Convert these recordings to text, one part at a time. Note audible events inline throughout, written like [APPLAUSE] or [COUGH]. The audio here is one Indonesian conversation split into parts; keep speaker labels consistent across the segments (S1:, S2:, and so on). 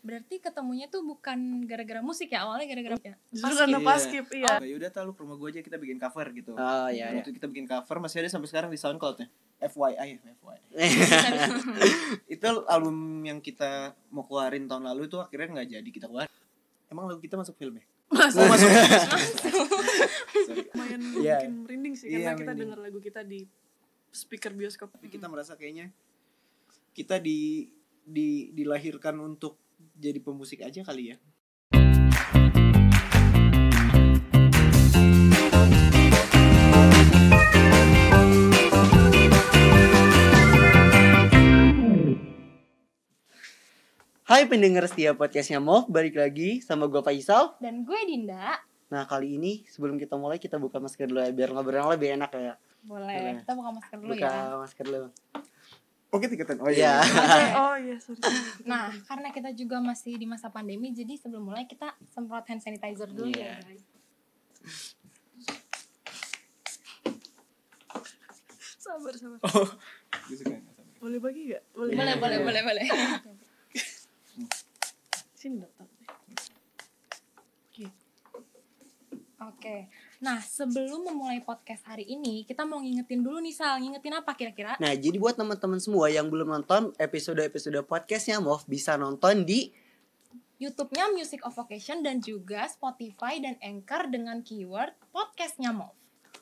S1: Berarti ketemunya tuh bukan gara-gara musik ya awalnya gara-gara ya.
S2: Justru
S3: Paskip.
S2: karena paskip, iya.
S3: Oh, yaudah tahu lu ke rumah gue aja kita bikin cover gitu.
S4: Oh iya iya.
S3: Waktu kita bikin cover masih ada sampai sekarang di ya. SoundCloud-nya. FYI, FYI. itu album yang kita mau keluarin tahun lalu itu akhirnya nggak jadi kita keluarin. Emang lagu kita masuk film ya?
S2: Masuk.
S3: Oh, masuk. Sorry.
S2: Lumayan
S4: Iya.
S2: bikin Oh, merinding sih
S3: Iya,
S2: karena kita
S3: merinding.
S2: dengar lagu kita di speaker bioskop.
S3: Tapi kita merasa kayaknya kita di di dilahirkan untuk jadi pemusik aja kali ya.
S4: Hai pendengar setia podcastnya Mov, balik lagi sama gue Faisal.
S1: Dan gue Dinda,
S4: Nah kali ini sebelum kita mulai kita buka masker dulu ya biar ngobrolnya lebih enak ya.
S1: boleh.
S4: Boleh.
S1: Kita buka masker dulu
S4: Buka
S1: ya.
S4: masker dulu.
S3: Oke, tiketan. Oh
S4: Iya.
S1: Oke.
S2: Oh iya, sorry.
S1: Nah, karena kita juga masih di masa pandemi, jadi sebelum mulai kita semprot hand sanitizer dulu ya
S4: Iya.
S1: guys.
S2: Sabar, sabar.
S3: Gue suka yang asal.
S2: Boleh bagi gak? Oh. Iya, Boleh.
S1: Boleh, boleh, boleh, boleh.
S2: Sini dong, tapi.
S1: Oke. Nah, sebelum memulai podcast hari ini, kita mau ngingetin dulu nih Sal, ngingetin apa kira-kira?
S4: Nah jadi buat teman-teman semua yang belum nonton episode-episode podcastnya Mov bisa nonton di
S1: YouTube-nya Music of Vocation dan juga Spotify dan Anchor dengan keyword podcastnya Mov.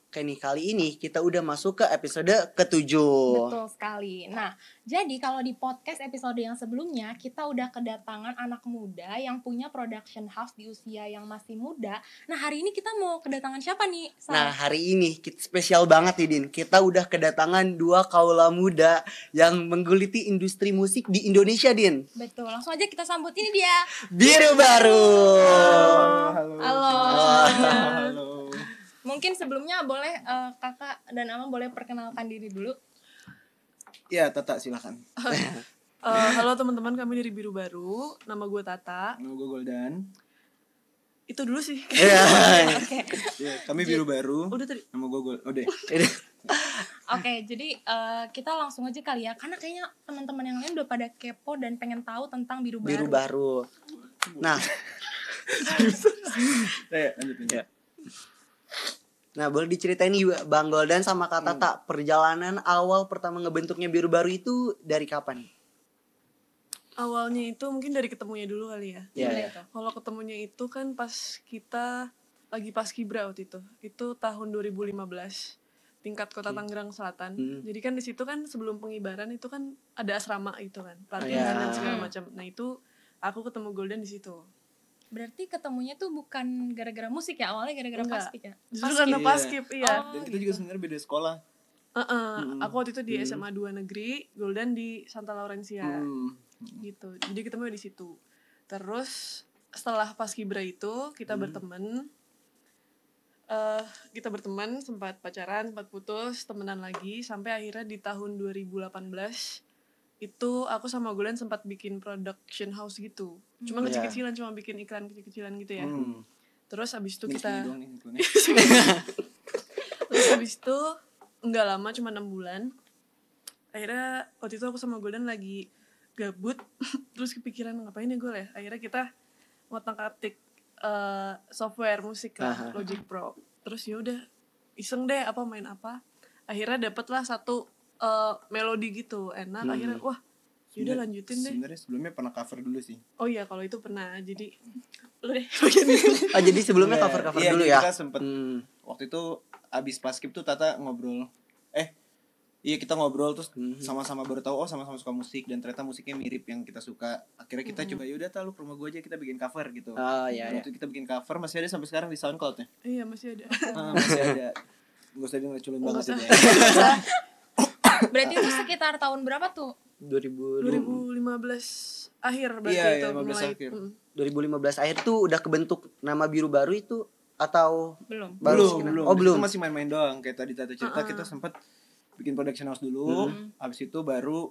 S4: Oke nih kali ini kita udah masuk ke episode ketujuh.
S1: Betul sekali. Nah, jadi kalau di podcast episode yang sebelumnya kita udah kedatangan anak muda yang punya production house di usia yang masih muda. Nah, hari ini kita mau kedatangan siapa nih? Sal?
S4: Nah hari ini kita spesial banget nih Din Kita udah kedatangan dua kaula muda Yang mengguliti industri musik di Indonesia Din
S1: betul. Langsung aja kita sambut ini dia.
S4: Biru Baru
S3: Halo.
S1: Halo.
S3: Halo.
S1: Mungkin sebelumnya boleh eh, Kakak dan Amang boleh perkenalkan diri dulu.
S3: Ya, Tata silakan.
S2: Eh, halo teman-teman, kami dari Biru Baru. Nama gue Tata.
S3: Halo, gue Goldan.
S2: Itu dulu sih.
S4: Iya.
S3: Ya, kami biru baru.
S2: Udah tadi.
S3: Nama gue Gold. Oh, deh.
S4: Udah.
S1: Oke, jadi eh, kita langsung aja kali ya karena kayaknya teman-teman yang lain udah pada kepo dan pengen tahu tentang biru baru.
S4: Biru Baru Nah
S3: Eh, lanjut lanjut.
S4: Ya. Nah boleh diceritain nih Bang Goldan sama Kak Tata Perjalanan awal pertama ngebentuknya Biru Baru itu dari kapan?
S2: Awalnya itu mungkin dari ketemunya dulu kali ya.
S4: Iya,
S1: Boleh
S4: iya.
S1: tuh.
S2: Kalau ketemunya itu kan pas kita lagi pas kibra waktu itu. Itu tahun 2015 tingkat kota Tangerang Selatan.
S4: Hmm.
S2: Jadi kan di situ kan sebelum pengibaran itu kan ada asrama gitu kan,
S4: Iya.
S2: pelatihan dan segala
S1: Hmm.
S2: macam. Nah, itu aku ketemu Golden di situ.
S1: Berarti ketemunya tuh bukan gara-gara musik ya awalnya gara-gara
S2: Enggak.
S1: plastik ya.
S2: Justru
S3: Paskib.
S2: karena
S3: Iya.
S2: paskib, iya.
S1: Oh,
S3: Dan kita juga sebenarnya beda sekolah.
S2: Heeh,
S4: Hmm.
S3: Mm-mm.
S2: Aku waktu itu di
S3: Mm.
S2: SMA 2 negeri, Golden di Santa Laurencia
S4: Iya.
S3: Hmm.
S2: gitu. Jadi ketemu di situ. Terus setelah pas kibra itu kita
S3: Hmm.
S2: berteman. eh kita berteman, sempat pacaran, sempat putus, temenan lagi sampai akhirnya di tahun 2018 itu aku sama Gulen sempat bikin production house gitu. Cuma
S4: Hmm.
S2: kecil-kecilan, cuma bikin iklan kecil-kecilan gitu ya.
S4: Iya.
S3: Iya. Hmm.
S2: Terus abis itu
S3: Ini sini
S2: kita
S3: doang nih,
S4: [LAUGHS]
S3: iklannya.
S2: Terus habis itu nggak lama cuma enam bulan. Akhirnya waktu itu aku sama Golden lagi gabut [LAUGHS] terus kepikiran ngapain ya gue ya. Akhirnya kita ngotak atik software musik lah,
S4: Aha.
S2: Logic Pro. Terus ya udah iseng deh apa main apa. Akhirnya dapatlah satu eh, melodi gitu enak.
S4: Hmm.
S2: Akhirnya wah yaudah
S3: Sebenar-
S2: lanjutin deh.
S3: Sebenarnya sebelumnya pernah cover dulu sih.
S2: Oh iya kalau itu pernah jadi lu deh.
S4: Oh jadi sebelumnya
S3: Iya.
S4: cover-cover
S3: Iya,
S4: dulu
S3: jadi
S4: ya?
S3: Kita sempet
S4: Hmm.
S3: waktu itu abis paskib tuh Tata ngobrol. Eh, iya kita ngobrol terus
S4: Mhm.
S3: sama-sama baru tahu oh sama-sama suka musik dan ternyata musiknya mirip yang kita suka. Akhirnya kita coba yaudah ta lu ke rumah gue aja kita bikin cover gitu.
S4: Hmm. Oh iya iya
S3: Waktu kita bikin cover masih ada sampai sekarang di
S4: [LAUGHS]
S3: SoundCloud-nya.
S2: iya masih ada.
S3: Ah, masih ada. Gak usah dia ngeculin
S2: Nggak
S3: banget
S2: usah.
S3: ya.
S1: Berarti itu sekitar tahun berapa tuh?
S4: 2000
S2: 2015 akhir berarti
S3: Iya,
S2: itu
S3: iya, 15
S2: mulai.
S3: akhir.
S2: Mm.
S4: 2015 akhir tuh udah kebentuk nama biru baru itu atau
S1: Belum.
S4: baru
S3: belum,
S4: sekitar-
S3: belum.
S4: oh
S3: Di
S4: belum
S3: situ masih main-main doang kayak tadi Tata cerita kita sempat bikin production house
S1: Hmm,
S3: dulu,
S4: Hmm.
S3: habis itu baru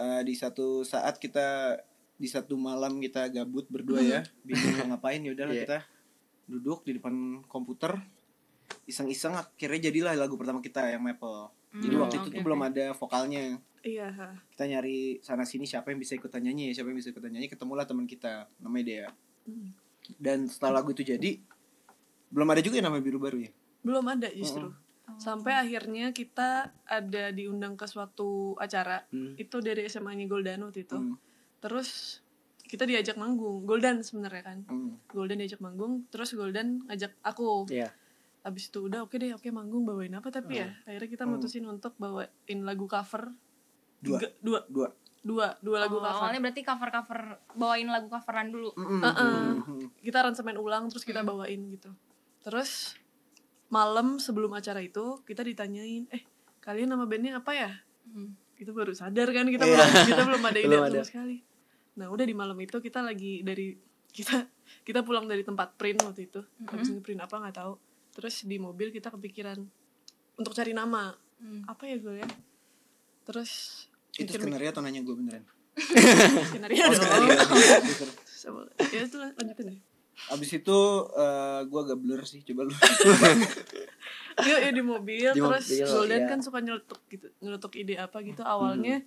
S3: eh, di satu saat kita di satu malam kita gabut berdua ya, bingung
S4: [LAUGHS]
S3: mau ngapain ya udahlah
S4: Hmm. Iya.
S3: kita duduk di depan komputer iseng-iseng akhirnya jadilah lagu pertama kita yang Maple. Jadi
S1: Hmm,
S3: waktu itu
S1: oke,
S3: tuh
S1: oke.
S3: belum ada vokalnya.
S2: Iya. ha.
S3: kita nyari sana sini siapa yang bisa ikutan nyanyi siapa yang bisa ikutan nyanyi ketemulah teman kita namanya Dea
S2: Hmm.
S3: dan setelah lagu itu jadi belum ada juga yang namanya biru baru ya
S2: Belum ada justru.
S1: Oh.
S2: Sampai akhirnya kita ada diundang ke suatu acara.
S4: Hmm.
S2: Itu dari SMA-nya Goldan waktu itu.
S3: Hmm,
S2: Terus kita diajak manggung. Goldan sebenarnya kan.
S3: hmm.
S2: Golden diajak manggung, terus Golden ngajak aku.
S4: Iya.
S2: Abis itu udah oke deh, oke manggung bawain apa tapi ya. Akhirnya kita
S3: Hmm.
S2: mutusin untuk bawain lagu cover.
S3: Dua.
S2: Tiga- dua,
S3: dua
S2: dua, dua lagu
S1: Oh,
S2: cover.
S1: awalnya berarti cover-cover bawain lagu coveran dulu.
S3: Mm-mm.
S2: Heeh.
S3: Mm-mm.
S2: Kita aransemen ulang terus
S1: Mm.
S2: kita bawain gitu. Terus malam sebelum acara itu kita ditanyain, "Eh, kalian nama bandnya apa ya?"
S1: Hmm.
S2: Itu baru sadar kan kita
S4: Iya.
S2: belum kita belum
S4: [LAUGHS]
S2: ada ide
S4: Belum ada.
S2: sama sekali. Nah, udah di malam itu kita lagi dari kita kita pulang dari tempat print waktu itu. Habis nge-print apa nggak tahu. Terus di mobil kita kepikiran untuk cari nama.
S1: Hmm.
S2: Apa ya gue ya? Terus
S3: itu
S2: mikir-mikir.
S3: skenario atau nanya gue beneran
S2: skenario.
S3: Oh,
S2: dong.
S3: skenario.
S2: [LAUGHS] Sama- Ya itu lah, lanjutin deh.
S3: abis itu eh, gue agak blur sih
S2: [LAUGHS]
S3: coba lu
S2: Iya, iya, di mobil
S4: Di
S2: terus
S4: mobil,
S2: Golden
S4: iya.
S2: kan suka nyeletuk gitu, nyeletuk ide apa gitu awalnya.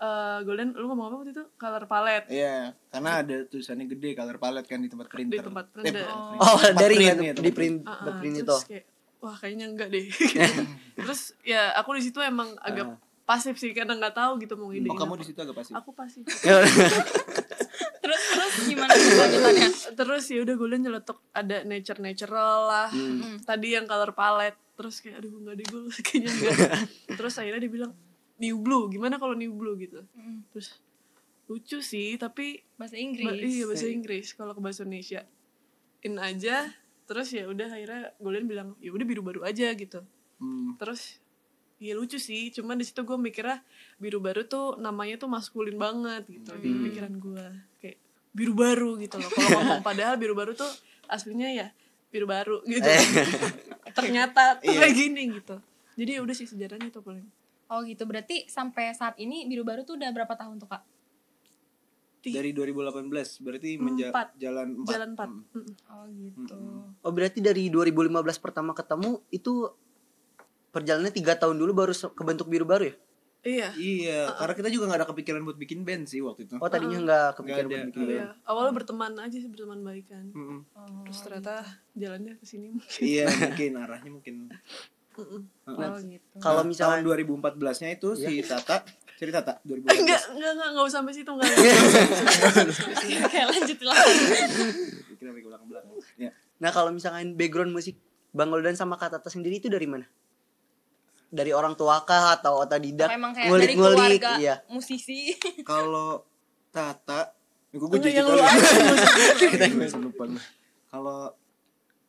S2: eh, Golden lu ngomong apa waktu itu? Color palette
S3: Iya, karena ada tulisannya gede color palette kan di tempat
S2: di
S3: printer.
S2: tempat
S3: Eh,
S2: print.
S3: bukan
S4: Oh,
S3: printer.
S4: dari
S3: Tempat
S4: nggak
S3: print
S4: tuh?
S3: ya,
S4: di
S3: tempat
S4: print,
S2: Ah,
S4: di
S2: ah,
S4: print itu.
S2: terus kayak wah kayaknya enggak deh [LAUGHS] terus ya aku di situ emang agak pasif sih karena nggak tahu gitu mau ide
S3: print. Ah. Oh, kamu di situ agak pasif.
S2: aku pasif
S1: [LAUGHS] Terus terus gimana tuh lanjutannya?
S2: terus ya udah Golden nyeletuk ada nature natural lah
S3: Hmm.
S1: Hmm.
S2: tadi yang color palette terus kayak aduh nggak deh gue [LAUGHS] kayaknya
S3: [LAUGHS]
S2: enggak terus akhirnya dia bilang new blue gimana kalau new blue gitu
S1: Hmm.
S2: terus lucu sih tapi
S1: Bahasa
S2: Ba- iya
S1: Inggris.
S2: bahasa Inggris kalau ke bahasa Indonesia in aja terus ya udah akhirnya Golden bilang ya udah biru baru aja gitu
S3: Hmm.
S2: terus ya lucu sih cuman di situ gue mikirnya biru baru tuh namanya tuh maskulin banget gitu di
S4: Hmm.
S2: pikiran gue kayak biru baru gitu loh kalau
S4: [LAUGHS]
S2: ngomong padahal biru baru tuh aslinya ya biru baru gitu ternyata tuh
S4: Iya.
S2: kayak gini gitu jadi ya udah sih sejarahnya tuh paling
S1: Oh gitu. Berarti sampai saat ini Biru Baru tuh udah berapa tahun tuh, Kak?
S3: Dari 2018 berarti
S2: Hmm,
S3: menja-
S2: Empat.
S3: jalan Hmm. 4.
S2: jalan empat Mm.
S1: Oh gitu.
S4: Oh, berarti dari 2015 pertama ketemu itu perjalanannya tiga tahun dulu baru se- kebentuk biru baru ya?
S2: iya
S3: Iya, karena kita juga gak ada kepikiran buat bikin band sih waktu itu.
S4: Oh, tadinya nggak
S3: Nggak
S4: kepikiran buat
S3: ada.
S4: bikin band.
S2: iya awalnya berteman aja sih berteman baikan
S3: Mm-mm.
S1: Oh.
S2: terus ternyata jalannya ke sini
S3: Hmm. Iya, mungkin arahnya mungkin.
S1: Oh gitu. [LAUGHS]
S4: Kalau
S3: Nah,
S4: misalnya Iya.
S3: tahun 2014-nya itu si Tata, cerita Tata
S2: [LAUGHS] enggak
S3: 2014.
S2: enggak enggak enggak usah sampai situ
S4: [LAUGHS]
S2: enggak
S1: Oke, lanjut lah.
S3: Kenapa gue ulang belakang? Ya.
S4: Nah kalau misalkan background musik Bang Goldan sama Kak Tata sendiri itu dari mana? Dari orang tua kah atau otodidak?
S1: Apa emang kayak dari
S4: Ngulik-ngulik,
S1: keluarga
S4: iya.
S1: musisi. [LAUGHS]
S3: Kalau Tata, ya gue
S2: Enggak,
S3: jadi
S2: yang lu
S3: [LAUGHS] Kita lupa gue. Kalau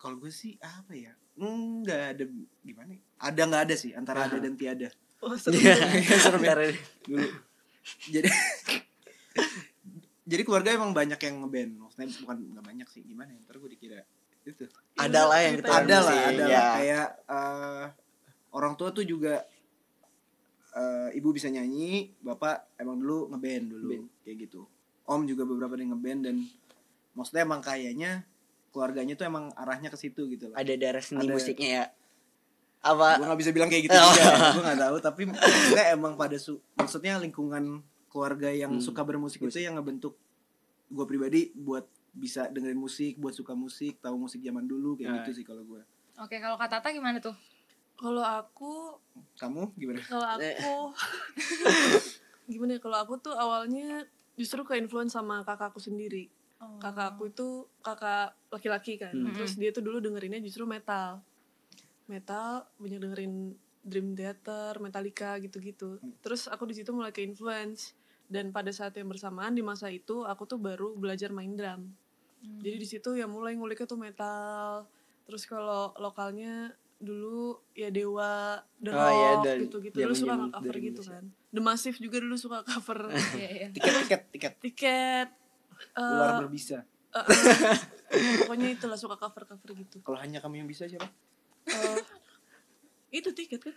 S3: kalau gue sih apa ya? Nggak ada gimana? ya? Ada nggak ada sih antara ada dan tiada
S2: Oh,
S4: Iya. [LAUGHS] Bentar.
S3: dulu. Jadi [LAUGHS] jadi keluarga emang banyak yang ngeband. Maksudnya bukan nggak banyak sih gimana? ya? Ntar gue dikira itu.
S4: Ada lah yang
S2: Cerita.
S4: keturunan
S3: Ada lah,
S4: sih,
S3: ada
S4: iya.
S3: lah. Kayak eh, orang tua tuh juga eh, ibu bisa nyanyi, bapak emang dulu ngeband dulu kayak gitu. Om juga beberapa yang ngeband dan maksudnya emang kayaknya keluarganya tuh emang arahnya ke situ gitu loh.
S4: Ada daerah seni
S3: Ada.
S4: musiknya ya? Apa?
S3: gue nggak bisa bilang kayak gitu
S4: Oh.
S3: juga gue nggak tahu tapi maksudnya emang pada su- maksudnya lingkungan keluarga yang
S4: Hmm.
S3: suka bermusik itu yang ngebentuk gue pribadi buat bisa dengerin musik buat suka musik tahu musik zaman dulu
S4: Nah.
S3: kayak gitu sih kalau gue
S1: Oke, kalau Kak Tata gimana tuh?
S2: kalau aku
S3: kamu gimana
S2: kalau aku gimana ya kalau aku tuh awalnya justru ke influence sama kakakku sendiri
S1: Oh.
S2: kakak aku itu kakak laki-laki kan terus dia tuh dulu dengerinnya justru metal metal banyak dengerin Dream Theater Metallica gitu-gitu terus aku di situ mulai ke influence dan pada saat yang bersamaan di masa itu aku tuh baru belajar main drum jadi di situ ya mulai nguliknya tuh metal terus kalau lokalnya dulu ya Dewa The
S4: Oh, iya,
S2: Rock
S4: dari-
S2: gitu-gitu dulu suka
S4: zaman-zaman
S2: cover
S4: dari
S2: gitu kan The Massive juga dulu suka cover
S1: Iya, iya.
S3: tiket tiket tiket
S2: tiket eh,
S3: luar berbisa
S2: Eh, eh. [LAUGHS] pokoknya itulah suka cover cover gitu
S3: kalau hanya kamu yang bisa siapa
S1: Oh.
S2: Eh, itu tiket kan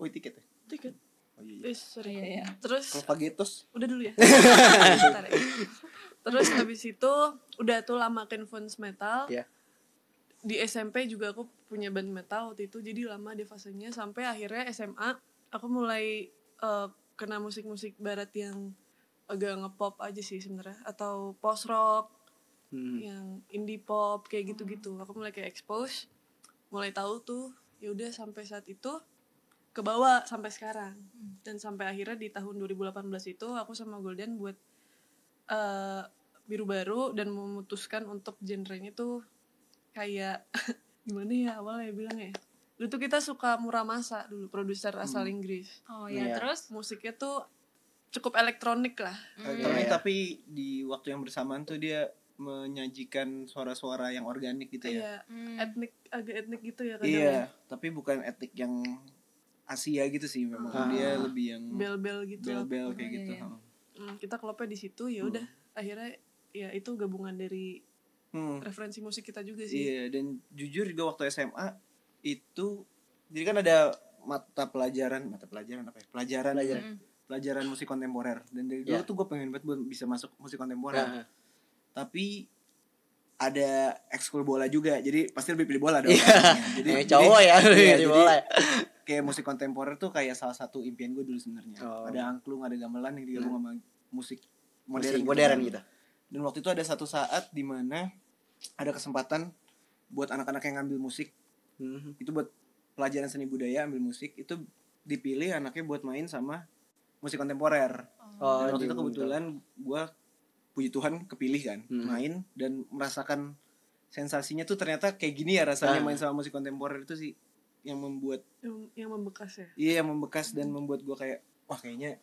S3: oh tiket ya?
S2: tiket
S3: oh iya, iya.
S2: eh, sorry
S1: Iya, iya.
S2: terus
S3: kalau pagetos
S2: udah dulu
S1: [LAUGHS]
S2: ya Bentar ya. terus habis itu udah tuh lama ke influence metal
S4: Iya.
S2: di SMP juga aku punya band metal waktu itu jadi lama di fasenya sampai akhirnya SMA aku mulai eh, kena musik-musik barat yang agak ngepop aja sih sebenarnya atau post rock
S4: Hmm.
S2: yang indie pop kayak gitu-gitu aku mulai kayak expose mulai tahu tuh ya udah sampai saat itu ke bawah sampai sekarang dan sampai akhirnya di tahun 2018 itu aku sama Golden buat eh, biru baru dan memutuskan untuk genrenya tuh kayak [LAUGHS] gimana ya awalnya bilangnya ya dulu tuh kita suka Muramasa dulu produser asal Inggris
S1: Oh ya,
S3: Iya.
S1: terus
S2: musiknya tuh cukup elektronik lah
S3: Elektronik
S4: Iya.
S3: tapi di waktu yang bersamaan tuh dia menyajikan suara-suara yang organik gitu ya.
S2: kayak
S1: Hmm.
S2: etnik agak etnik gitu ya kadang
S3: Iya, tapi bukan etik yang Asia gitu sih memang
S4: Ah.
S3: dia lebih yang
S2: bel-bel gitu
S3: bel-bel kayak
S1: Iya,
S3: gitu.
S1: iya.
S2: Hmm, kita klopnya di situ ya udah akhirnya ya itu gabungan dari
S3: Hmm.
S2: referensi musik kita juga sih
S3: Iya, dan jujur juga waktu SMA itu jadi kan ada mata pelajaran, mata pelajaran apa ya? Pelajaran
S4: Pelajaran.
S1: Mm.
S3: pelajaran musik kontemporer. Dan dari dulu
S4: Iya.
S3: tuh gue pengen banget buat bisa masuk musik kontemporer.
S4: Nah,
S3: Tapi ada ekskul bola juga. Jadi pasti lebih pilih bola dong.
S4: Iya.
S3: pastinya. Jadi
S4: eh, cowok [LAUGHS] ya,
S3: jadi- iya,
S4: di
S3: jadi
S4: bola.
S3: kayak musik kontemporer tuh kayak salah satu impian gue dulu sebenarnya.
S4: Oh.
S3: Ada angklung, ada gamelan yang digabung sama musik modern
S4: modern
S3: gitu
S4: modern
S3: kan.
S4: gitu.
S3: Dan waktu itu ada satu saat di mana ada kesempatan buat anak-anak yang ngambil musik
S4: Hmm.
S3: itu buat pelajaran seni budaya ambil musik itu dipilih anaknya buat main sama musik kontemporer.
S4: Oh,
S3: Dan waktu
S4: di
S3: itu kebetulan gue puji Tuhan kepilih kan
S4: Hmm.
S3: main dan merasakan sensasinya tuh ternyata kayak gini ya rasanya
S4: Ah.
S3: main sama musik kontemporer itu sih yang membuat
S2: yang, yang membekas ya
S3: iya yang membekas dan membuat gue kayak wah kayaknya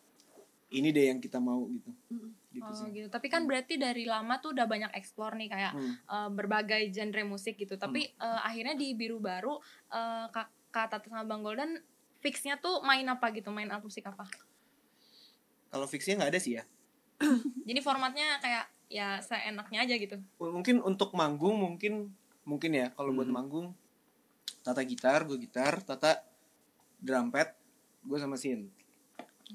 S3: ini deh yang kita mau gitu
S2: Mm-mm.
S3: gitu
S1: Oh
S3: sih.
S1: gitu. Tapi kan berarti dari lama tuh udah banyak explore nih kayak
S3: Hmm.
S1: eh, berbagai genre musik gitu. Tapi eh, akhirnya di Biru Baru eh, Kak Kak Tata sama Bang Golden fixnya tuh main apa gitu, main apa musik apa.
S3: Kalau fixnya nggak ada sih ya.
S1: Jadi formatnya kayak ya seenaknya aja gitu.
S3: M- Mungkin untuk manggung mungkin mungkin ya kalau buat
S4: Hmm.
S3: manggung Tata gitar, gue gitar, Tata drum pad, gue sama Sin.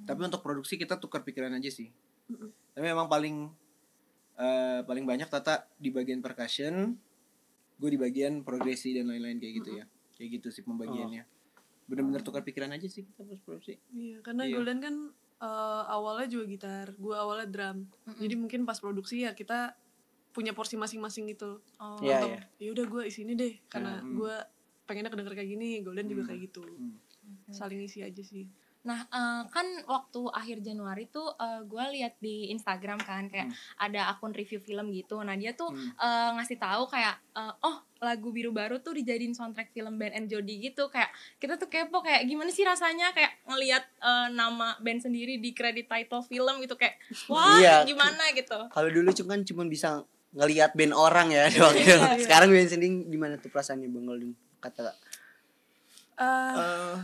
S3: Tapi untuk produksi kita tukar pikiran aja sih.
S2: Mm-mm.
S3: Tapi memang paling eh, paling banyak Tata di bagian percussion, gue di bagian progresi dan lain-lain kayak gitu ya. Kayak gitu sih pembagiannya. Bener-bener tukar pikiran aja sih kita pas produksi.
S2: iya karena
S3: Iya.
S2: Golden kan eh, awalnya juga gitar gue awalnya drum
S1: Hmm.
S2: jadi mungkin pas produksi ya kita punya porsi masing-masing gitu
S1: Oh.
S4: Iya,
S2: Untuk,
S4: iya.
S2: ya udah gue isi ini deh karena
S3: Hmm.
S2: gue pengennya kedenger kayak gini Golden juga
S3: Hmm.
S2: kayak gitu
S3: Hmm.
S2: saling isi aja sih
S1: Nah, eh, kan waktu akhir Januari tuh gue lihat di Instagram kan kayak
S4: Hmm.
S1: ada akun review film gitu. Nah, dia tuh
S3: Hmm.
S1: eh, ngasih tahu kayak eh, oh, lagu Biru Baru tuh dijadiin soundtrack film band and Jody gitu. Kayak kita tuh kepo kayak gimana sih rasanya kayak ngelihat eh, nama band sendiri di kredit title film gitu kayak wah,
S4: Iya.
S1: gimana gitu.
S4: Kalau dulu cuma kan cuma bisa ngelihat band orang ya
S1: Iya,
S4: di waktu itu. Sekarang band sendiri gimana tuh perasaannya Bang Golden? Kata
S2: Eh,
S3: Eh,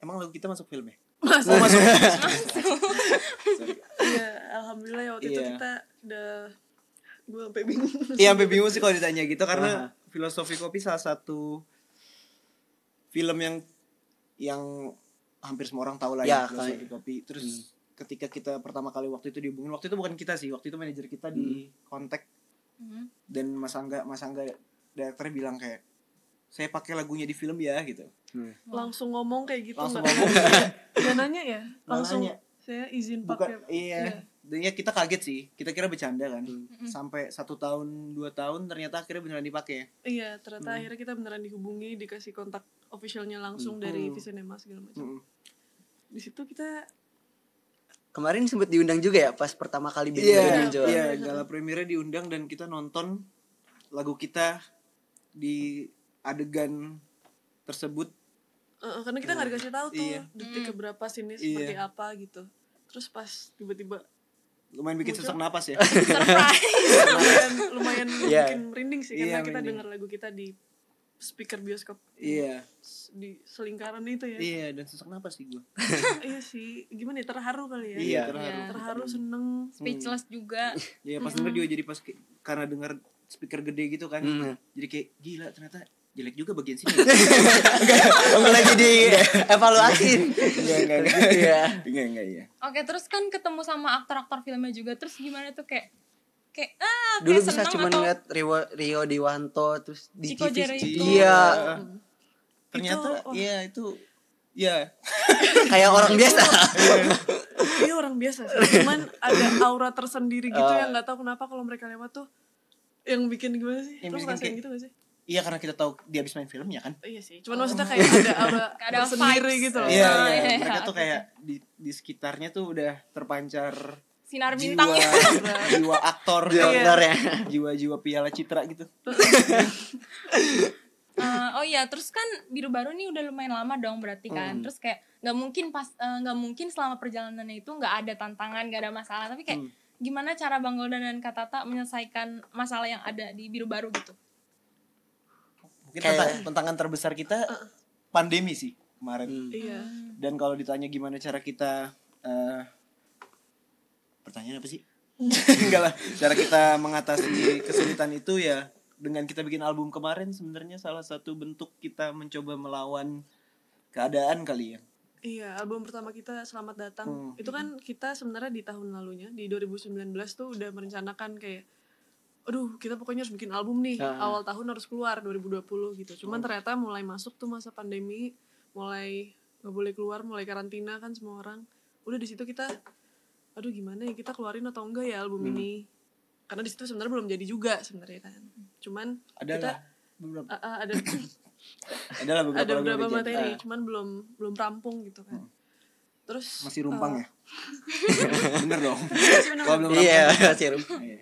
S3: emang lagu kita masuk film ya?
S2: Masuk.
S3: Oh,
S2: [LAUGHS]
S3: masuk. Sorry.
S2: Iya, alhamdulillah ya waktu itu
S3: Iya.
S2: kita udah gue sampai bingung.
S3: Iya sampai bingung sih kalau ditanya gitu karena filosofi kopi salah satu film yang yang hampir semua orang tahu lah
S4: Ya,
S3: ya, filosofi
S4: kayak-
S3: kopi. Terus ketika kita pertama kali waktu itu dihubungin, waktu itu bukan kita sih, waktu itu manajer kita di kontak
S1: Mhm.
S3: dan Mas Angga Mas Angga direkturnya bilang kayak saya pakai lagunya di film ya gitu.
S2: Langsung ngomong kayak gitu
S3: Langsung
S2: nggak-
S3: ngomong
S2: Nggak nanya ya? Langsung
S3: nanya.
S2: saya izin
S3: bukan
S2: pakai.
S3: iya. Dan ya kita kaget sih, kita kira bercanda kan.
S2: Hmm.
S3: Sampai satu tahun dua tahun ternyata akhirnya beneran dipakai.
S2: Iya,
S3: Hmm.
S2: ternyata akhirnya kita beneran dihubungi, dikasih kontak officialnya langsung
S3: Hmm.
S2: dari Visinema segala macam.
S3: Mm-mm.
S2: Di situ kita
S4: kemarin sempat diundang juga ya pas pertama kali band
S3: Iya,
S4: Golden juara.
S3: iya, gala premiernya diundang dan kita nonton lagu kita di adegan tersebut.
S2: eh, karena kita nggak dikasih tahu tuh
S3: Iya.
S2: detik keberapa sini
S3: Iya.
S2: seperti apa gitu. Terus pas
S3: [COUGHS]
S2: tiba-tiba
S3: Lumayan bikin sesak napas ya.
S2: lumayan lumayan
S4: Iya.
S2: bikin merinding sih
S3: Iya,
S2: karena kita
S3: merinding.
S2: dengar lagu kita di speaker bioskop
S3: iya,
S2: di selingkaran itu ya.
S3: iya dan sesak napas sih gue.
S2: iya sih gimana ya terharu kali ya
S3: Iya,
S2: terharu
S3: terharu.
S2: seneng
S1: [LAUGHS] Speechless juga.
S3: Ya pas denger juga jadi pas ke- karena denger speaker gede gitu kan.
S4: Hmm.
S3: Jadi kayak gila ternyata jelek juga bagian sini. Enggak,
S4: Enggak lagi di evaluasin.
S3: enggak,
S4: Iya.
S3: Enggak, enggak, [LAUGHS] iya.
S1: Oke, terus kan ketemu sama aktor-aktor filmnya juga. Terus gimana tuh kayak kayak ah,
S4: Dulu
S1: kayak
S4: bisa
S1: seneng
S4: cuma
S1: atau-
S4: ngeliat Rio, Rio Dewanto terus di
S1: Chico
S4: TV.
S1: Jericho.
S4: Iya,
S3: Ternyata
S2: Itu, wah.
S3: iya itu Iya,
S4: kayak orang biasa.
S2: dia Iya, orang biasa sih cuman ada aura tersendiri gitu
S3: Ah.
S2: yang nggak tahu kenapa kalau mereka lewat tuh yang bikin gimana sih
S3: Yang
S2: terus
S3: bikin
S2: ngerasain
S3: kayak-
S2: gitu gak sih
S3: Iya karena kita tahu dia habis main filmnya kan.
S2: Oh, iya sih cuman maksudnya kayak ada aura
S1: Ada
S2: tersendiri
S1: vibes.
S2: gitu loh
S3: Iya,
S1: Ah,
S3: iya.
S1: iya,
S3: mereka
S1: iya.
S3: tuh kayak di, di sekitarnya tuh udah terpancar
S1: Sinar
S3: jiwa,
S1: bintang [LAUGHS] ya.
S3: jiwa aktor,
S4: Iya, benar ya.
S3: jiwa-jiwa piala citra gitu.
S1: Eh, oh iya, terus kan biru baru nih udah lumayan lama dong berarti kan.
S3: Hmm.
S1: Terus kayak nggak mungkin pas eh, nggak mungkin selama perjalanannya itu nggak ada tantangan, nggak ada masalah. Tapi kayak
S3: Hmm.
S1: gimana cara Bang Goldan dan Kak Tata menyelesaikan masalah yang ada di biru baru gitu?
S3: Mungkin
S4: Kayak-
S3: tantang- tantangan terbesar kita pandemi sih kemarin.
S4: Hmm.
S2: iya
S3: Dan kalau ditanya gimana cara kita eh pertanyaan apa
S2: [LAUGHS]
S3: sih? Enggak lah, cara kita mengatasi kesulitan itu ya dengan kita bikin album kemarin sebenarnya salah satu bentuk kita mencoba melawan keadaan kali ya.
S2: Iya, album pertama kita Selamat Datang.
S3: Hmm.
S2: Itu kan kita sebenarnya di tahun lalunya di 2019 tuh udah merencanakan kayak aduh, kita pokoknya harus bikin album nih.
S4: Ah.
S2: Awal tahun harus keluar 2020 gitu.
S3: Oh.
S2: Cuman ternyata mulai masuk tuh masa pandemi, mulai nggak boleh keluar, mulai karantina kan semua orang. Udah di situ kita aduh gimana ya kita keluarin atau enggak ya album
S3: Hmm.
S2: ini. Karena di situ sebenarnya belum jadi juga sebenarnya kan. Cuman
S3: Adalah beberapa
S2: kita ah, ah, ada
S3: adalah beberapa,
S2: ada
S3: lagu yang
S2: beberapa
S3: udah jadi.
S2: materi
S3: Ah, Hmm.
S2: cuman belum belum rampung gitu kan terus
S3: masih rumpang
S2: [LAUGHS] eh,
S3: ya. Bener dong.
S2: [LAUGHS] masih
S3: Kalau belum rampung.
S4: Iya, serum.
S3: Iya.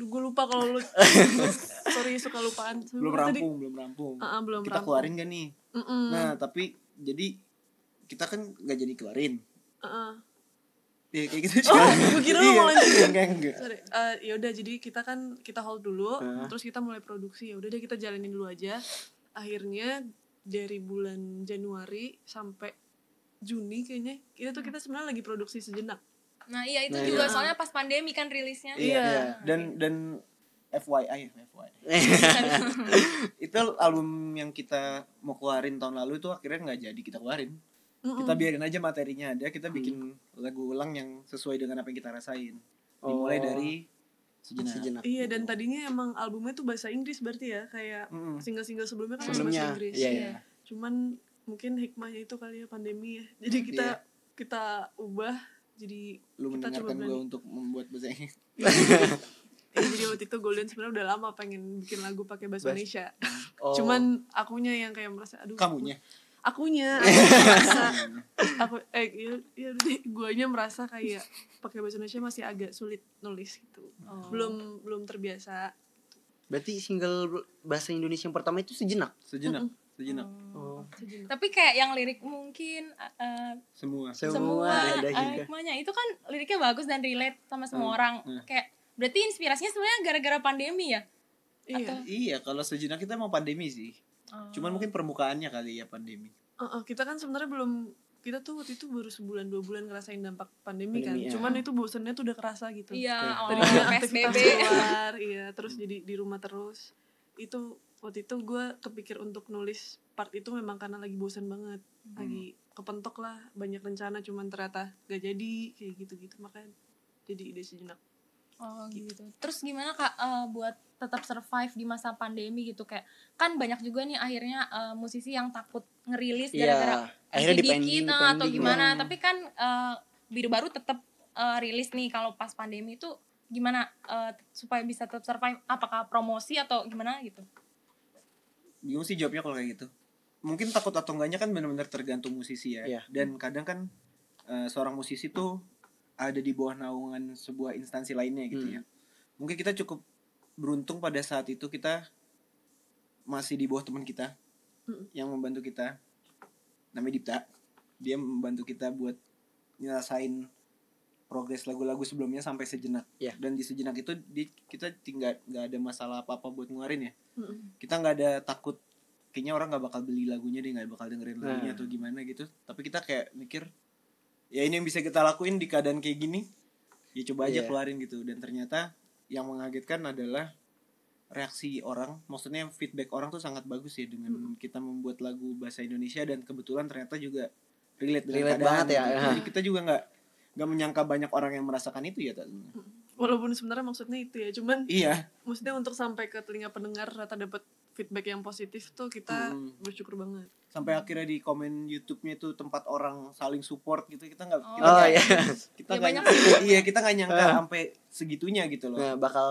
S2: gue Gitu. lupa kalau
S3: [LAUGHS]
S2: lu sorry suka lupaan
S3: Belum
S2: Tadi-
S3: rampung, belum rampung.
S2: Ah, ah, belum rampung.
S3: kita
S2: Hmm.
S3: keluarin gak nih?
S2: Mm-mm.
S3: Nah, tapi jadi kita kan gak jadi keluarin.
S2: Ah, ah.
S3: Ya, kayak gitu.
S2: Oh, gua kira lu mau lanjut.
S3: Enggak, enggak.
S2: sorry Eh, ya udah jadi kita kan kita hold dulu
S3: Ah.
S2: terus kita mulai produksi ya udah deh kita jalanin dulu aja akhirnya dari bulan Januari sampai Juni kayaknya itu tuh kita sebenarnya lagi produksi sejenak
S1: Nah iya itu
S4: Nah,
S1: juga
S2: iya.
S1: soalnya pas pandemi kan rilisnya.
S3: Iya,
S2: Iya.
S3: iya. Dan dan FYI, FYI.
S1: Iya, kan?
S3: itu album yang kita mau keluarin tahun lalu itu akhirnya nggak jadi kita keluarin.
S2: Mm-mm.
S3: Kita biarin aja materinya ada,
S2: Hmm.
S3: kita bikin lagu ulang yang sesuai dengan apa yang kita rasain. Dimulai
S4: Oh.
S3: dari sejenak.
S4: Sejenak.
S2: Iya dan tadinya emang albumnya tuh bahasa Inggris berarti ya kayak
S3: Mm-mm.
S2: single-single sebelumnya kan masih bahasa
S4: sebelumnya.
S2: Inggris.
S4: Iya,
S1: Iya.
S4: iya.
S2: Cuman mungkin hikmahnya itu kali ya pandemi ya. Jadi
S4: Iya.
S2: kita kita ubah jadi
S3: Lu
S2: kita coba
S3: mendengarkan gue
S2: berani.
S3: untuk membuat bahasa Inggris.
S2: Ya, jadi waktu itu Golden sebenarnya udah lama pengen bikin lagu pakai bahasa
S4: Bahasa-
S2: Indonesia.
S4: Oh.
S2: Cuman akunya yang kayak merasa aduh.
S3: Kamunya.
S4: [LAUGHS]
S2: Akunya. aku merasa aku eh ya, ya udah deh, guanya merasa kayak pakai bahasa Indonesia masih agak sulit nulis gitu.
S1: Oh.
S2: Belum belum terbiasa.
S4: Berarti single bahasa Indonesia yang pertama itu sejenak.
S3: Sejenak,
S2: Hmm.
S3: sejenak.
S4: Oh.
S1: Hmm. Tapi kayak yang lirik mungkin eh,
S3: Semua.
S1: semua eh,
S4: ada juga.
S1: hikmahnya itu kan liriknya bagus dan relate sama semua
S3: Hmm,
S1: orang.
S3: hmm.
S1: Kayak berarti inspirasinya sebenarnya gara-gara pandemi ya?
S2: Iya.
S1: Atau-
S3: Iya, kalau sejenak kita mau pandemi sih.
S1: Oh.
S3: Cuman mungkin permukaannya kali ya pandemi.
S2: Uh-uh, kita kan sebenarnya belum kita tuh waktu itu baru sebulan dua bulan ngerasain dampak pandemi, kan.
S4: Pandemi, ya.
S2: Cuman itu bosennya tuh udah kerasa gitu.
S1: Iya,
S2: Dari
S1: awal-awal
S2: aktivitas
S1: PSBB.
S2: keluar, iya, terus jadi di rumah terus. Itu waktu itu gue kepikir untuk nulis part itu memang karena lagi bosen banget, lagi kepentok lah banyak rencana cuman ternyata gak jadi kayak gitu-gitu makanya jadi ide sejenak.
S1: Oh gitu. Terus gimana kak eh, buat tetap survive di masa pandemi gitu kayak kan banyak juga nih akhirnya eh, musisi yang takut ngerilis gara-gara
S4: Iya. Akhirnya
S1: dikit,
S4: dipending,
S1: eh, atau
S4: dipending.
S1: gimana. Tapi kan eh, biru baru tetap eh, rilis nih kalau pas pandemi itu gimana eh, supaya bisa tetap survive? Apakah promosi atau gimana gitu?
S3: bingung sih jawabnya kalau kayak gitu mungkin takut atau enggaknya kan benar-benar tergantung musisi ya
S4: Iya.
S3: dan kadang kan eh, seorang musisi tuh ada di bawah naungan sebuah instansi lainnya gitu
S4: Hmm.
S3: ya mungkin kita cukup beruntung pada saat itu kita masih di bawah teman kita
S2: Mm.
S3: yang membantu kita namanya Dipta dia membantu kita buat nyelesain progres lagu-lagu sebelumnya sampai sejenak
S4: Iya.
S3: dan di sejenak itu di- kita tinggal nggak ada masalah apa-apa buat ngeluarin ya
S2: Mm-mm.
S3: kita nggak ada takut kayaknya orang nggak bakal beli lagunya deh nggak bakal dengerin lagunya
S4: Nah.
S3: atau gimana gitu tapi kita kayak mikir ya ini yang bisa kita lakuin di keadaan kayak gini ya coba aja
S4: Iya.
S3: keluarin gitu dan ternyata yang mengagetkan adalah reaksi orang maksudnya feedback orang tuh sangat bagus ya dengan
S4: Hmm.
S3: kita membuat lagu bahasa Indonesia dan kebetulan ternyata juga relate dengan
S4: Relate
S3: keadaan
S4: banget
S3: gitu.
S4: ya, ya.
S3: jadi kita juga nggak nggak menyangka banyak orang yang merasakan itu ya Tat.
S2: Walaupun sebenarnya maksudnya itu ya, cuman
S3: iya
S2: maksudnya untuk sampai ke telinga pendengar rata dapat feedback yang positif tuh kita
S3: Hmm.
S2: bersyukur banget
S3: sampai akhirnya di komen YouTube-nya itu tempat orang saling support gitu kita nggak
S1: Oh.
S3: kita
S4: Oh
S3: nggak-
S4: ya.
S1: [LAUGHS]
S3: kita
S1: Ya,
S3: nggak
S1: banyak
S3: iya kita nggak nyangka
S4: Ah.
S3: sampai segitunya gitu loh
S4: Nah, bakal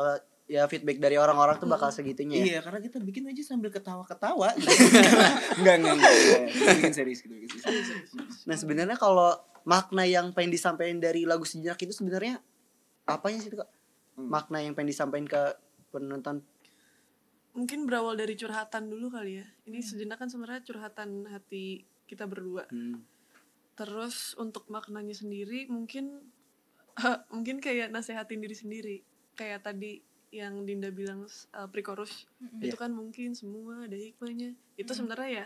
S4: ya feedback dari orang-orang tuh bakal segitunya. ya.
S3: Iya, karena kita bikin aja sambil ketawa-ketawa.
S4: [LAUGHS]
S3: enggak, enggak, enggak. Kita bikin serius gitu. bikin
S1: Iya,
S3: serius.
S4: Nah, sebenarnya kalau makna yang pengen disampaikan dari lagu sejenak itu sebenarnya apanya sih, Kak?
S3: Hmm.
S4: Makna yang pengen disampaikan ke penonton.
S2: mungkin berawal dari curhatan dulu kali ya ini sejenak kan sebenarnya curhatan hati kita berdua
S4: Hmm.
S2: terus untuk maknanya sendiri mungkin eh, mungkin kayak nasehatin diri sendiri kayak tadi yang Dinda bilang eh, pre-chorus
S1: Mm-mm.
S2: itu kan mungkin semua ada hikmahnya itu sebenarnya ya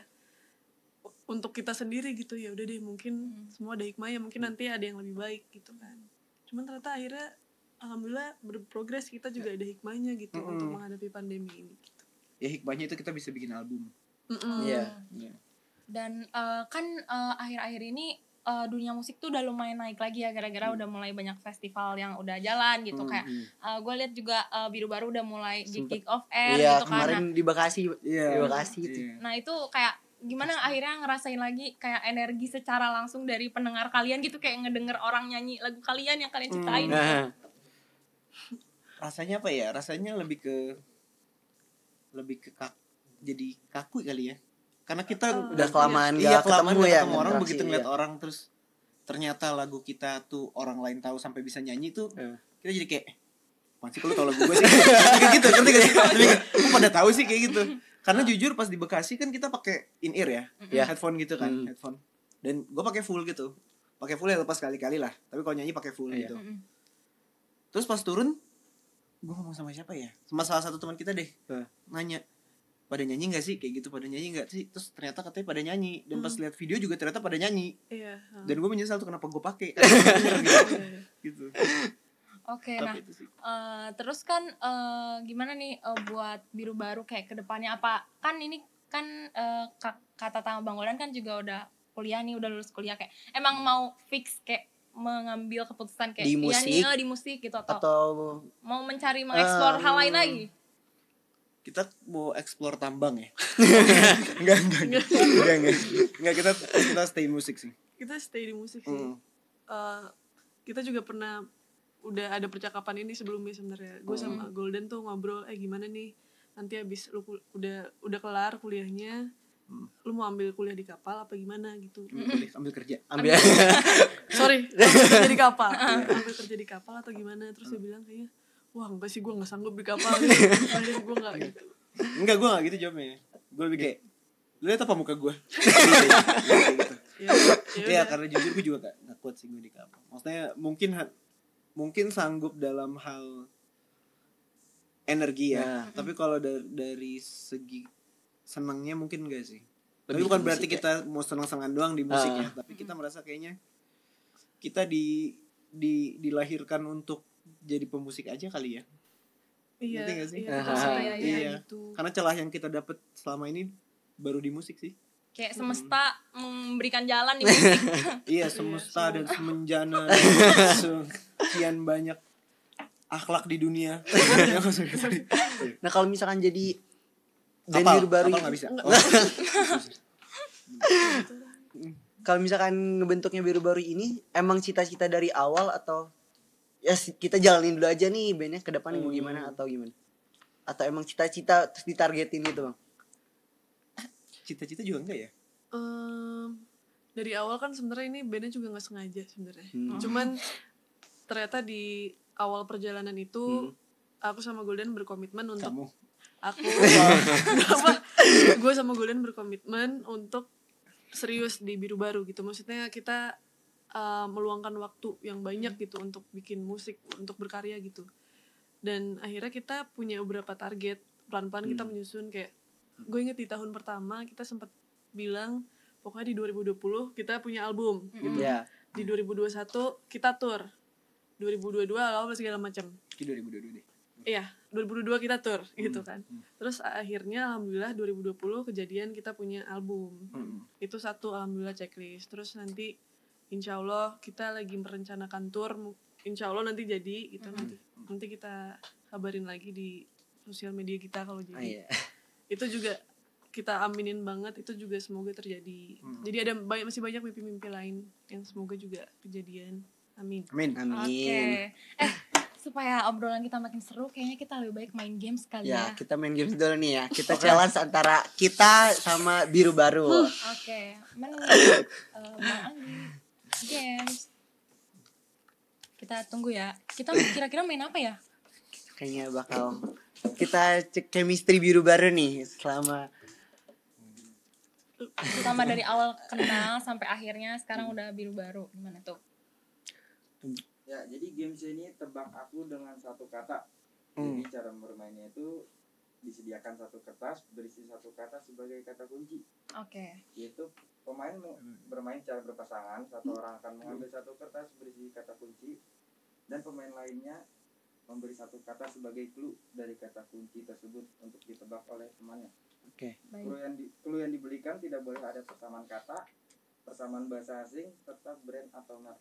S2: u- untuk kita sendiri gitu ya udah deh mungkin
S1: Mm.
S2: semua ada hikmahnya mungkin nanti ada yang lebih baik gitu kan cuman ternyata akhirnya alhamdulillah berprogres kita juga ada hikmahnya gitu
S3: Mm-mm.
S2: untuk menghadapi pandemi ini gitu.
S3: Ya hikmahnya itu kita bisa bikin album.
S2: Mm-mm.
S4: Iya.
S3: Iya.
S1: Hmm. Dan eh, kan eh, akhir-akhir ini eh, dunia musik tuh udah lumayan naik lagi ya gara-gara
S4: Hmm.
S1: udah mulai banyak festival yang udah jalan gitu kayak
S3: Hmm.
S1: gue lihat juga eh, biru baru udah mulai di
S4: Sempet.
S1: kick off air gitu kan.
S4: Iya,
S1: Nah,
S4: kemarin di Bekasi. hmm.
S3: Iya.
S4: Terima kasih itu.
S3: Iya.
S1: Nah itu kayak gimana akhirnya ngerasain lagi kayak energi secara langsung dari pendengar kalian gitu kayak ngedenger orang nyanyi lagu kalian yang kalian ciptain.
S4: Nah,
S3: Rasanya apa ya? Rasanya lebih ke lebih ke kak, jadi kaku kali ya. Karena
S1: Oh.
S3: kita
S4: Udah kelamaan
S3: iya,
S4: nggak
S3: kelamaan
S4: ketemu
S3: nggak
S4: ya,
S3: ketemu orang
S4: interaksi,
S3: begitu ngeliat
S4: iya.
S3: orang terus ternyata lagu kita tuh orang lain tahu sampai bisa nyanyi tuh
S4: Iya.
S3: kita jadi kayak Pansi kalau tau lagu gue sih kayak gitu ngerti gak sih Tapi kayak, "Kok pada tahu sih kayak gitu karena jujur pas di Bekasi kan kita pakai in ear ya
S4: Iya.
S3: headphone gitu kan
S4: Hmm.
S3: headphone dan gue pakai full gitu pakai full ya lepas kali-kali lah tapi kalau nyanyi pakai full
S4: Iya.
S3: gitu
S1: Mm-mm.
S3: terus pas turun gue ngomong sama siapa ya sama salah satu teman kita deh
S4: Hah.
S3: nanya pada nyanyi nggak sih kayak gitu pada nyanyi nggak sih terus ternyata katanya pada nyanyi dan pas lihat video juga ternyata pada nyanyi
S2: Iya, ha.
S3: dan gue menyesal tuh kenapa gue pakai
S4: [LAUGHS]
S3: Karena bener gitu.
S2: Iya.
S3: gitu
S1: Oke, nah
S3: tapi itu sih
S1: Eh, terus kan eh, gimana nih eh, buat biru baru kayak kedepannya apa kan ini kan eh, ka- kata tama bang Golan kan juga udah kuliah nih udah lulus kuliah kayak emang mau fix kayak mengambil keputusan kayak
S4: Hmm. Di
S1: iya
S4: musik?
S1: nih, eh, di musik gitu atau,
S4: atau Ah.
S1: mau mencari mengeksplor hal lain
S4: Em,
S1: lagi
S3: kita mau explore tambang
S4: [LAUGHS]
S3: ya enggak enggak
S2: Iya,
S3: enggak [LAUGHS] enggak enggak Enggak, kita kita stay musik sih
S2: kita stay di musik sih
S3: Mm.
S4: Hmm.
S2: eh, kita juga pernah udah ada percakapan ini sebelumnya sebenarnya gue sama
S3: Hmm.
S2: Golden tuh ngobrol eh gimana nih nanti abis lu kul- udah udah kelar kuliahnya
S3: Hmm.
S2: lu mau ambil kuliah di kapal apa gimana
S3: [LAUGHS]
S2: gitu
S3: ambil, kuliah, ambil kerja
S4: ambil
S2: sorry ambil kerja di
S3: [LAUGHS]
S2: kapal Iya, ambil kerja di kapal atau gimana terus
S3: Hmm.
S2: dia bilang kayaknya wah enggak sih gue nggak sanggup di kapal Gitu. akhirnya gue nggak gitu
S3: enggak gue enggak gitu jawabnya gue lebih kayak lu lihat apa muka
S4: [LAUGHS]
S3: Iya, gue gitu.
S2: ya,
S3: [LAUGHS] Iya
S2: ya, udah.
S3: karena jujur gue juga gak, gak kuat sih gue di kapal. Maksudnya mungkin ha- mungkin sanggup dalam hal energi
S4: Nah.
S3: ya. Tapi kalau dari, dari segi senangnya mungkin enggak sih. Tapi
S4: Lebih
S3: bukan
S4: ke Ah.
S3: berarti
S4: musik
S3: kita mau senang-senangan doang di musik ya. Tapi kita merasa kayaknya kita di di dilahirkan untuk jadi pemusik aja kali ya.
S2: iya
S3: ngerti nggak sih?
S2: iya,
S3: [LAUGHS]
S4: Aha.
S2: terus kayak
S3: Iya.
S2: ya gitu
S3: Karena celah yang kita dapat selama ini baru di musik sih.
S1: kayak semesta
S4: Hmm.
S1: memberikan jalan di musik
S4: [LAUGHS]
S3: Iya semesta dan [LAUGHS] semenjana sekian banyak akhlak di [LAUGHS] dunia. Iya, gitu.
S4: nah kalau misalkan jadi band
S3: Kapal,
S4: biru
S3: kapal
S4: baru itu-
S3: nggak bisa. Oh.
S4: kalau misalkan ngebentuknya biru baru ini emang cita-cita dari awal atau ya si- kita jalanin dulu aja nih bandnya ke depan mau gimana atau gimana atau emang cita-cita terus ditargetin gitu [LAUGHS] bang
S3: [LAUGHS] Cita-cita juga enggak ya?
S2: Em, dari awal kan sebenarnya ini bandnya juga nggak sengaja sebenarnya. Cuman ternyata di awal perjalanan itu aku sama Golden berkomitmen untuk
S3: Kamu.
S2: aku
S4: [LAUGHS] Oh.
S2: gue sama Golden berkomitmen untuk serius di biru baru gitu. Maksudnya kita eh, meluangkan waktu yang banyak gitu untuk bikin musik, untuk berkarya gitu. Dan akhirnya kita punya beberapa target. Pelan-pelan kita menyusun kayak gue inget di tahun pertama kita sempat bilang pokoknya di 2020 kita punya album gitu.
S4: ya
S2: Di 2021 kita tour. 2022 lah segala macam.
S3: Ki 2022 deh.
S2: Iya, 2022 kita tour gitu kan. Terus akhirnya alhamdulillah 2020 kejadian kita punya album.
S3: Hmm.
S2: Itu satu alhamdulillah checklist. Terus nanti insya Allah kita lagi merencanakan tour. Mu- Insya Allah nanti jadi
S3: Hmm.
S2: gitu nanti. Nanti kita kabarin lagi di sosial media kita kalau
S4: Ah,
S2: jadi.
S4: iya.
S2: itu juga kita aminin banget itu juga semoga terjadi
S3: Hmm.
S2: jadi ada banyak masih banyak mimpi-mimpi lain yang semoga juga kejadian amin
S3: Amin.
S1: Hmm. Oke.
S4: Amin.
S1: Eh, supaya obrolan kita makin seru, kayaknya kita lebih baik main game sekali ya.
S4: Ya, kita main games dulu nih ya. Kita challenge antara kita sama biru baru.
S1: Oke, mana uh, Bang Anggi? Games. Kita tunggu ya. Kita kira-kira main apa ya?
S4: Kayaknya bakal kita cek chemistry biru baru nih selama
S1: Pertama dari awal kenal sampai akhirnya sekarang udah biru baru. Gimana tuh?
S5: Ya, jadi games ini tebak aku dengan satu kata. Jadi cara bermainnya itu disediakan satu kertas berisi satu kata sebagai kata kunci.
S1: Oke.
S5: Yaitu pemain me- bermain cara berpasangan, satu orang akan mengambil satu kertas berisi kata kunci dan pemain lainnya memberi satu kata sebagai clue dari kata kunci tersebut untuk ditebak oleh temannya.
S1: Baik.
S5: Clue yang, di- clue yang diberikan tidak boleh ada persamaan kata, persamaan bahasa asing, serta brand atau merek.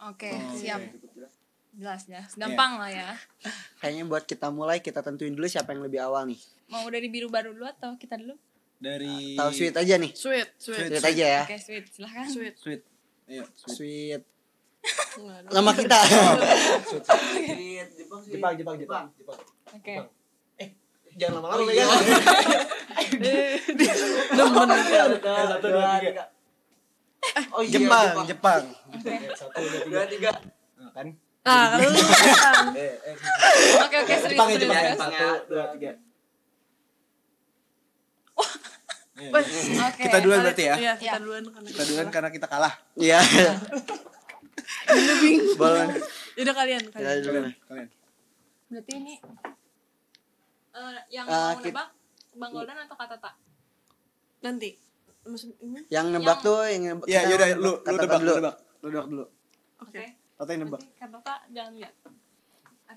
S1: Oke,
S3: Oke.
S1: siap.
S5: Cukup jelas.
S1: Jelas ya. Gampang lah ya.
S4: kayaknya buat kita mulai kita tentuin dulu siapa yang lebih awal nih.
S1: Mau dari biru baru dulu atau kita dulu?
S3: Dari
S4: Tahu sweet aja nih.
S2: sweet
S3: Sweet.
S2: sweet
S4: Sweet aja ya.
S1: Oke, sweet. Silahkan.
S2: sweet
S3: Sweet. Iya, sweet.
S4: Sweet.
S2: Nggak ada.
S4: Lama
S3: [LAUGHS]
S4: kita.
S3: Jepang, Jepang, Jepang.
S1: Oke.
S4: Jangan lama-lama ya. Demen Satu, dua, tiga. Oh [LAUGHS] iya,
S3: Jepang, Jepang. Nah, Kan?
S2: ah lu
S1: Oke, oke, sweet.
S4: Jepang ya,
S1: sweet,
S4: Jepang ya.
S1: terus.
S4: Satu, dua, tiga.
S3: Iya,
S2: Wes.
S3: iya.
S1: Oke.
S3: Kita duluan berarti ya.
S2: Iya,
S1: Ya.
S2: kita duluan karena
S3: Kita duluan kan? karena kita kalah.
S4: Iya. [LAUGHS] Boleh.
S2: Yaudah kalian
S4: Iya. Kita
S3: Iya.
S2: kalian
S4: duluan.
S3: Kalian.
S1: Berarti ini eh, yang
S4: Eh,
S1: mau
S4: kit-
S1: nebak Bang Goldan atau Kak Tata?
S2: nanti maksud ini
S4: Yang nebak
S1: Yang-
S4: tuh yang nebak.
S3: Iya,
S4: kita
S3: yaudah lu
S4: kata
S3: lu nebak,
S4: dulu.
S3: lu nebak. Lu nebak dulu.
S2: oke
S1: Oke.
S3: Tata yang nebak.
S1: Berarti Kak Tata jangan lihat.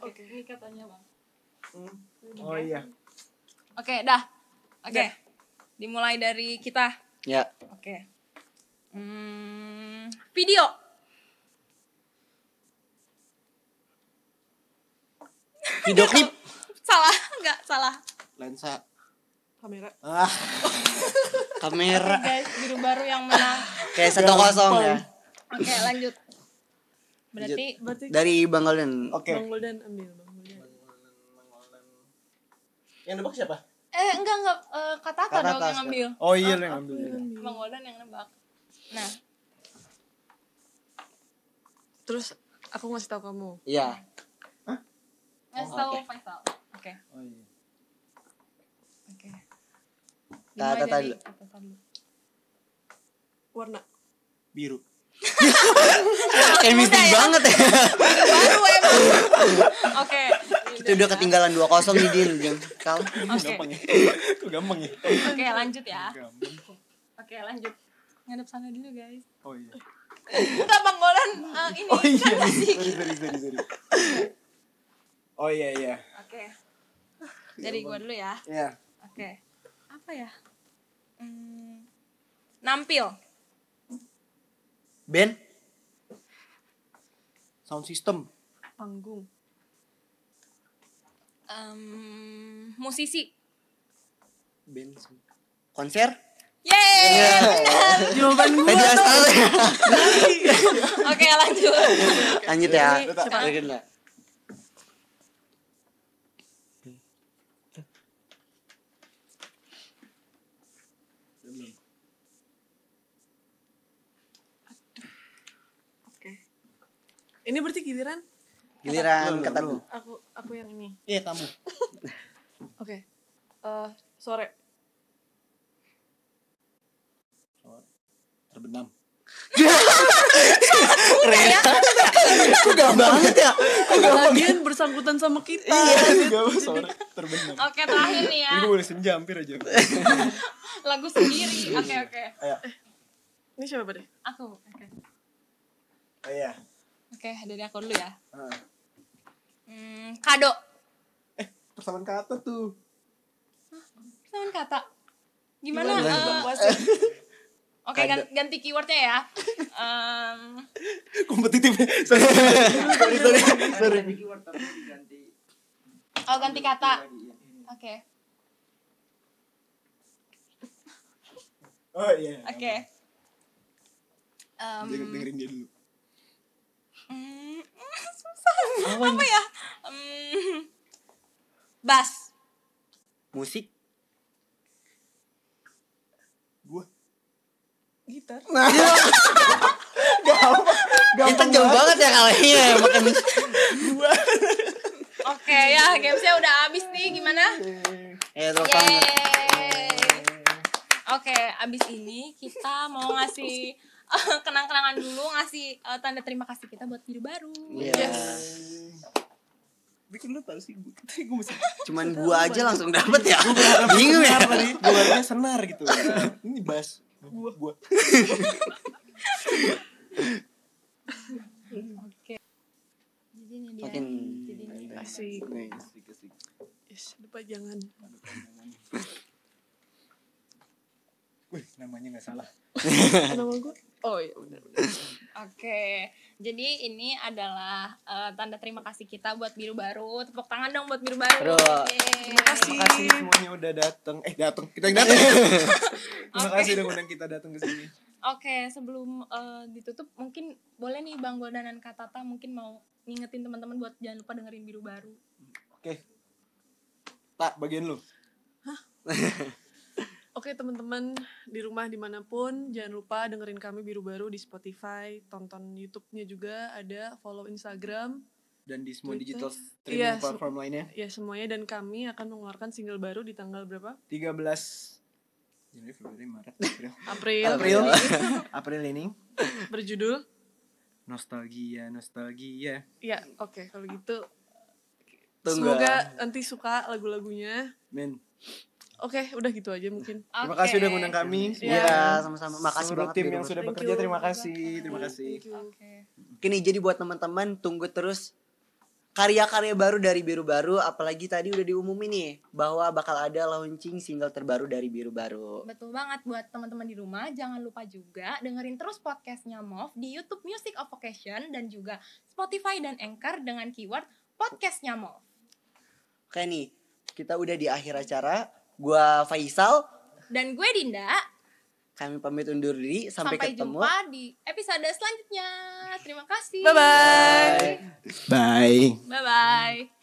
S1: Oke,
S2: Oke.
S1: ini katanya Bang.
S3: Oh iya.
S1: Oke, dah. Oke. Dimulai dari kita.
S4: Ya.
S1: Oke. Hmm, video.
S4: Video klip.
S1: Salah, [LAUGHS] enggak salah.
S3: Lensa.
S2: kamera
S3: Ah,
S4: Kamera.
S1: Guys, biru baru yang menang.
S4: Kayak satu kosong ya.
S1: Oke, lanjut. Berarti
S2: berarti
S4: Dari Bang Golden.
S3: oke.
S2: bang Golden ambil bang Golden
S3: Yang nebak siapa?
S1: eh enggak enggak eh, Kak Tata
S4: Kak
S1: dong
S4: Tata
S1: yang
S4: sekarang.
S1: ngambil.
S3: Oh iya, lu yang ambil.
S1: Bang Goldan yang nebak. Nah,
S2: terus aku ngasih tahu kamu
S4: Iya.
S1: ngasih
S4: Oh,
S1: tahu
S4: oke.
S1: Faisal. Oke,
S3: Oh iya.
S1: oke.
S4: Nah,
S1: Dimulai
S4: Tata
S1: dari
S4: dulu.
S1: Tata dulu.
S2: warna
S3: Biru.
S4: Chemistry
S1: Muda ya.
S4: banget ya. [LAUGHS]
S1: Baru emang. Oke.
S4: Kita udah ketinggalan 2-0 nih Din. Jangan kalah.
S1: Oke.
S3: [LAUGHS] Gampang ya. Kok gampang ya?
S1: Oke, lanjut ya.
S3: Gampang.
S1: Oke, lanjut. Ngadep sana dulu, guys.
S3: Oh iya.
S1: Enggak Bang Goldan eh, ini
S3: Oh iya.
S1: kan masih.
S3: Sorry, sorry, sorry, sorry. Oh iya, iya.
S1: Oke. Dari gua dulu ya.
S3: Iya.
S1: Oke. Apa ya? Hmm, nampil.
S4: Ben.
S3: Sound system.
S2: panggung
S1: Em, musisi.
S4: Ben. Konser.
S1: Yeay!
S4: Iya. Jawaban gue. Tadi asal.
S1: Oke, lanjut.
S4: Lanjut ya.
S2: Ini siapa?
S4: Lanjut lah.
S2: oke ini berarti giliran
S3: Lu, lu,
S4: Giliran kata
S3: lu.
S4: gue.
S2: aku aku yang ini
S3: Iya, kamu.
S2: oke Eh, sore
S3: Terbenam.
S4: Kok gampang banget ya?
S2: bagian bersangkutan sama kita
S3: Gak apa soalnya terbenam.
S1: Oke, terakhir nih ya.
S3: Ini gue boleh senja hampir aja.
S1: lagu sendiri. Oke oke.
S3: Ayo.
S2: ini siapa deh
S1: Aku. Oke.
S3: Oh iya.
S1: Oke dari aku dulu ya.
S3: Heeh.
S1: Hmm, kado.
S3: Persamaan kata tuh.
S1: Sama kata. Gimana? eh,
S4: Gimana? Gimana?
S3: [LAUGHS]
S1: puasa? Oke gan- ganti keywordnya ya. Em,
S3: Kompetitif. Sorry, sorry.
S4: Sorry, sorry.
S5: Sorry. Ada keyword tapi diganti
S1: oh ganti kata.
S5: lagi.
S1: Oke.
S3: Oh iya.
S1: Oke. um, Em,
S3: Denger- dengerin dia dulu.
S1: mm, [LAUGHS] susah. Apa, ya? Em, bass.
S4: Musik.
S3: Gua
S2: gitar
S4: Kita jauh banget ya kalahnya makan
S1: Oke ya, gamesnya udah habis nih. Gimana?
S4: Eh, tepuk tangan.
S1: Yeay. Oke, abis ini kita mau ngasih [LAUGHS] kenang-kenangan dulu, ngasih eh, tanda terima kasih kita buat biru baru.
S4: Iya.
S3: Bikin lu tau sih [LAUGHS] gue. Gue masih
S4: Cuman gua aja langsung dapet ya. [LAUGHS] Bingung ya.
S3: apa nih? Luarnya senar gitu. Ini bass. Gua gua.
S1: Jadi ini dia.
S4: Mungkin
S1: Jadi ini.
S2: asik
S3: Nih, asik, asik.
S2: yes lupa jangan
S3: Wih, namanya nggak salah.
S2: nama gue oh iya benar
S1: Oke, jadi ini adalah eh, tanda terima kasih kita buat biru baru. Tepuk tangan dong buat biru baru.
S4: Bro.
S1: Terima
S2: kasih.
S3: Makasih semuanya udah datang. Eh, datang. Kita yang datang. Terima kasih udah ngundang kita datang ke sini.
S1: Oke, sebelum eh, ditutup mungkin boleh nih Bang Goldan dan Kak Tata mungkin mau ngingetin teman-teman buat jangan lupa dengerin biru baru.
S3: Oke. Tak bagian lu.
S2: Oke teman-teman di rumah dimanapun jangan lupa dengerin kami biru baru di Spotify tonton YouTube-nya juga ada follow Instagram
S3: Dan di semua
S2: Twitter.
S3: digital streaming
S2: Iya,
S3: platform lainnya.
S2: ya semuanya dan kami akan mengeluarkan single baru di tanggal berapa
S3: 13 Januari, Februari, [LAUGHS] Maret, April.
S2: April,
S4: April.
S3: [LAUGHS] April ini
S2: berjudul
S3: nostalgia, nostalgia.
S2: ya oke kalau gitu
S4: Tunggu.
S2: semoga nanti suka lagu-lagunya
S3: Men,
S2: oke udah gitu aja mungkin
S3: terima kasih
S1: Oke.
S3: udah ngundang kami.
S2: Iya.
S4: Iya, sama-sama. Makasih
S3: Seluruh
S4: banget
S3: tim
S4: Biru
S3: yang
S4: Baru.
S3: sudah
S2: Thank
S3: bekerja
S2: you.
S3: terima kasih, terima kasih.
S2: Thank you.
S1: Oke.
S4: Kini jadi buat teman-teman tunggu terus karya-karya baru dari Biru Baru apalagi tadi udah diumumin nih bahwa bakal ada launching single terbaru dari Biru Baru.
S1: Betul banget buat teman-teman di rumah jangan lupa juga dengerin terus podcastnya Mov di YouTube Music of Occasion dan juga Spotify dan Anchor dengan keyword podcastnya Mov.
S4: Oke nih, kita udah di akhir acara. Gua Faisal,
S1: Dan gue Dinda
S4: kami pamit undur diri sampai,
S1: sampai,
S4: ketemu.
S1: jumpa di episode selanjutnya. Terima kasih.
S2: bye bye
S3: Bye.
S1: Bye bye.